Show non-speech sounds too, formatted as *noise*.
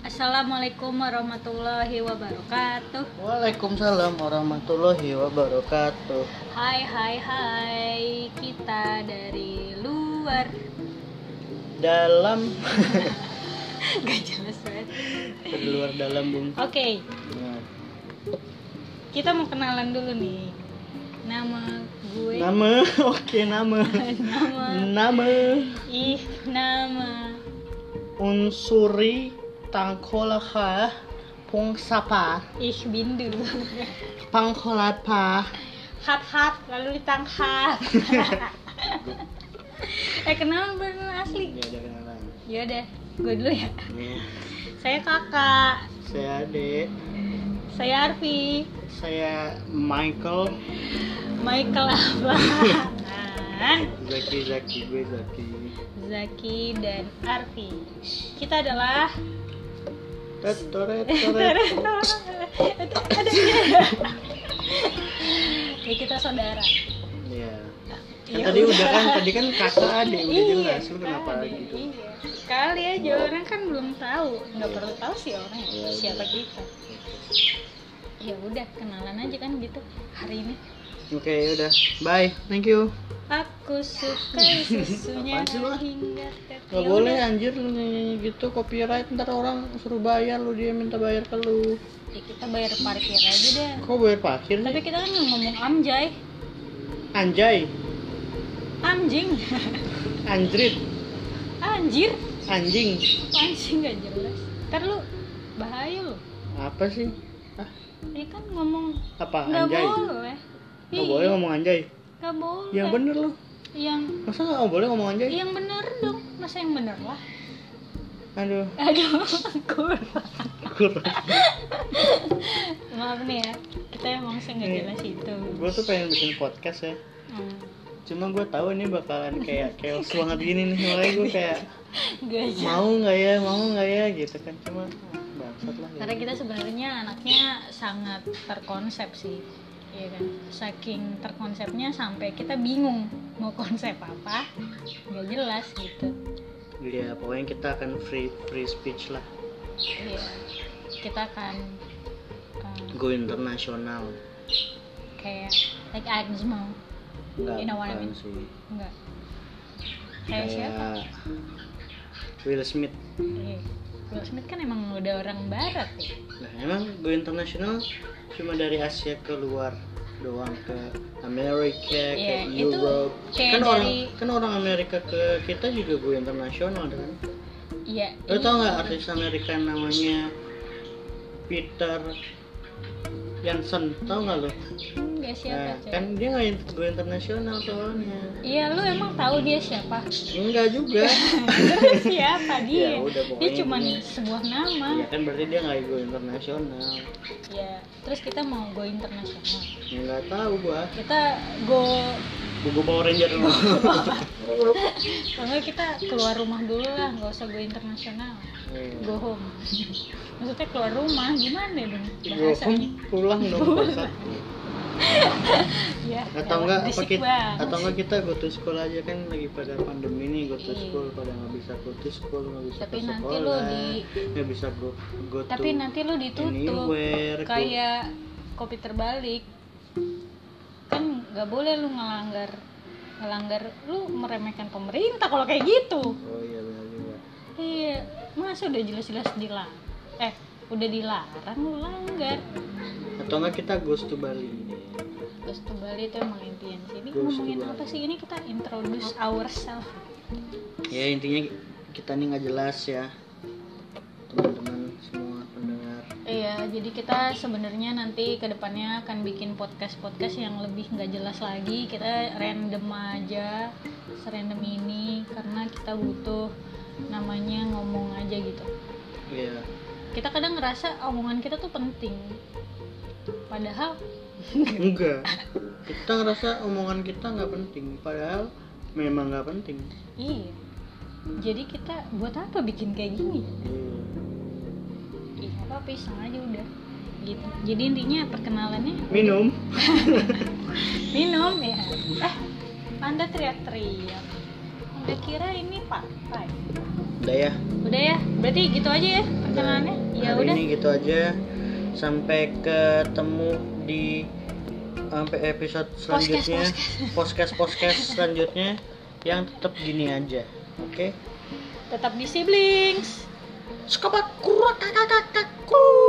Assalamualaikum warahmatullahi wabarakatuh. Waalaikumsalam warahmatullahi wabarakatuh. Hai hai hai, kita dari luar. *laughs* Dalam Gak jelas banget. dari luar dalam bung. Oke, kita mau kenalan dulu nih. Nama gue Nama, *laughs* oke nama. nama Nama ih nama Unsuri Tangkolaka Pungsapa ih bindu. *laughs* Pangkolapa. Hat hat lalu ditangkap. *laughs* eh kenal bener asli. Gak ada kenalan. Yaudah, gue dulu ya. Ini Saya kakak, Saya Ade, saya Arfi. saya Michael, Michael *laughs* Abahan, Zaki Zaki gue Zaki. Zaki dan Arfi. Kita adalah *laughs* Tet toret toret. ya kita saudara. Iya. Kan Ya tadi udah. udah kan tadi kan kakak Ade udah Iya, jelas lu kenapa ada, lagi tuh? Iya. Kali aja orang kan belum tahu, nggak perlu tahu sih orang ya, Iya, siapa iya. kita. Ya udah kenalan aja kan gitu hari ini. Oke, udah. Bye. Thank you. Aku suka susunya *laughs* Apaan sih lu? hingga tetes. Gak Ya boleh udah. anjir lu nyanyi gitu copyright ntar orang suruh bayar lu dia minta bayar ke lu. Ya, kita bayar parkir aja deh. Kok bayar parkir Tapi nih? kita kan nggak ngomong amjay, Anjay, anjing, *laughs* anjrit, anjir, anjing. apaan sih nggak jelas. Ntar lu bahaya lu. Apa sih? Hah? Ini kan ngomong Apa nggak anjay? boleh. Iya, Gak boleh ngomong anjay. Nggak boleh. Yang bener lu. Yang Masa gak boleh ngomong anjay? yang bener dong. Masa yang bener lah. Aduh, Aduh, *laughs* kurang. kurang. Maaf nih ya. Kita emang nggak jelas itu. gue tuh pengen bikin podcast ya. Hmm. Cuma gue tahu ini bakalan kayak chaos banget gini nih. Makanya gue kayak Gak jelas. mau nggak ya, mau nggak ya gitu kan. Cuma ah, bangsat lah. Karena kita sebenarnya anaknya sangat terkonsep sih. Iya kan? Saking terkonsepnya sampai kita bingung mau konsep apa, nggak jelas gitu. Iya, pokoknya kita akan free free speech lah. Iya. Kita akan um, Go internasional. kayak like Agnesmo, Enggak You know what I mean? bukan sih. enggak? Kayak Kayak siapa? Will Smith. Iya. Will Smith kan emang udah orang barat ya. Nah, emang go internasional cuma dari Asia keluar doang ke Amerika, Iya, ke itu Europe. kayak Kan orang dari- kan orang Amerika ke kita juga go internasional kan. Iya. Lo ini- tau nggak artis Amerika namanya Peter Johnson? Tau nggak lo? Enggak siapa? Nah, coy. kan dia nggak go internasional soalnya. Iya, lu emang tahu dia siapa? *laughs* Enggak juga. Terus siapa dia? Ya udah, dia pokoknya cuman ini- sebuah nama. Iya kan berarti dia nggak go internasional. Ya, terus kita mau go internasional. Ya, Nggak tahu gua. Iya. Kita go Buku Power Ranger dulu. kalau nggak kita keluar rumah dulu lah, nggak usah go internasional. Go *laughs* home. Maksudnya keluar rumah gimana dong Go home, bahasanya? pulang dong bangsat. Ya, Atau elah, enggak apa berisik kita banget. atau enggak kita go to school aja kan lagi pada pandemi nih go to Iya. school pada nggak bisa go to school nggak bisa Tapi ke nanti sekolah lo di- nggak bisa go go Tapi to nanti lu ditutup anywhere, go- kayak kopi terbalik. Kan nggak boleh lu ngelanggar ngelanggar lu meremehkan pemerintah kalau kayak gitu. oh iya benar juga Iya, masa udah jelas-jelas dilarang. Eh, udah dilarang lu langgar. atau enggak kita goes to Bali Terus tuh Bali itu emang impian sih. Ini Terus ngomongin tuh Bali. apa sih? Ini kita introduce ourselves. ya intinya kita nih nggak jelas ya teman-teman semua pendengar Iya, jadi kita sebenarnya nanti kedepannya akan bikin podcast-podcast yang lebih nggak jelas lagi. Kita random aja, serandom ini karena kita butuh namanya ngomong aja gitu. ya Kita kadang ngerasa omongan kita tuh penting, padahal enggak kita ngerasa omongan kita nggak penting padahal memang nggak penting iya. Jadi kita buat apa bikin kayak gini? Ih, apa pisang aja udah gitu. Jadi intinya perkenalannya minum minum ya eh anda teriak-teriak udah kira ini partai udah ya udah ya berarti gitu aja ya perkenalannya ya hari udah ini gitu aja sampai ketemu di sampai episode selanjutnya podcast podcast selanjutnya yang tetap gini aja oke tetap di siblings Skobat kurak kakak kakak ku.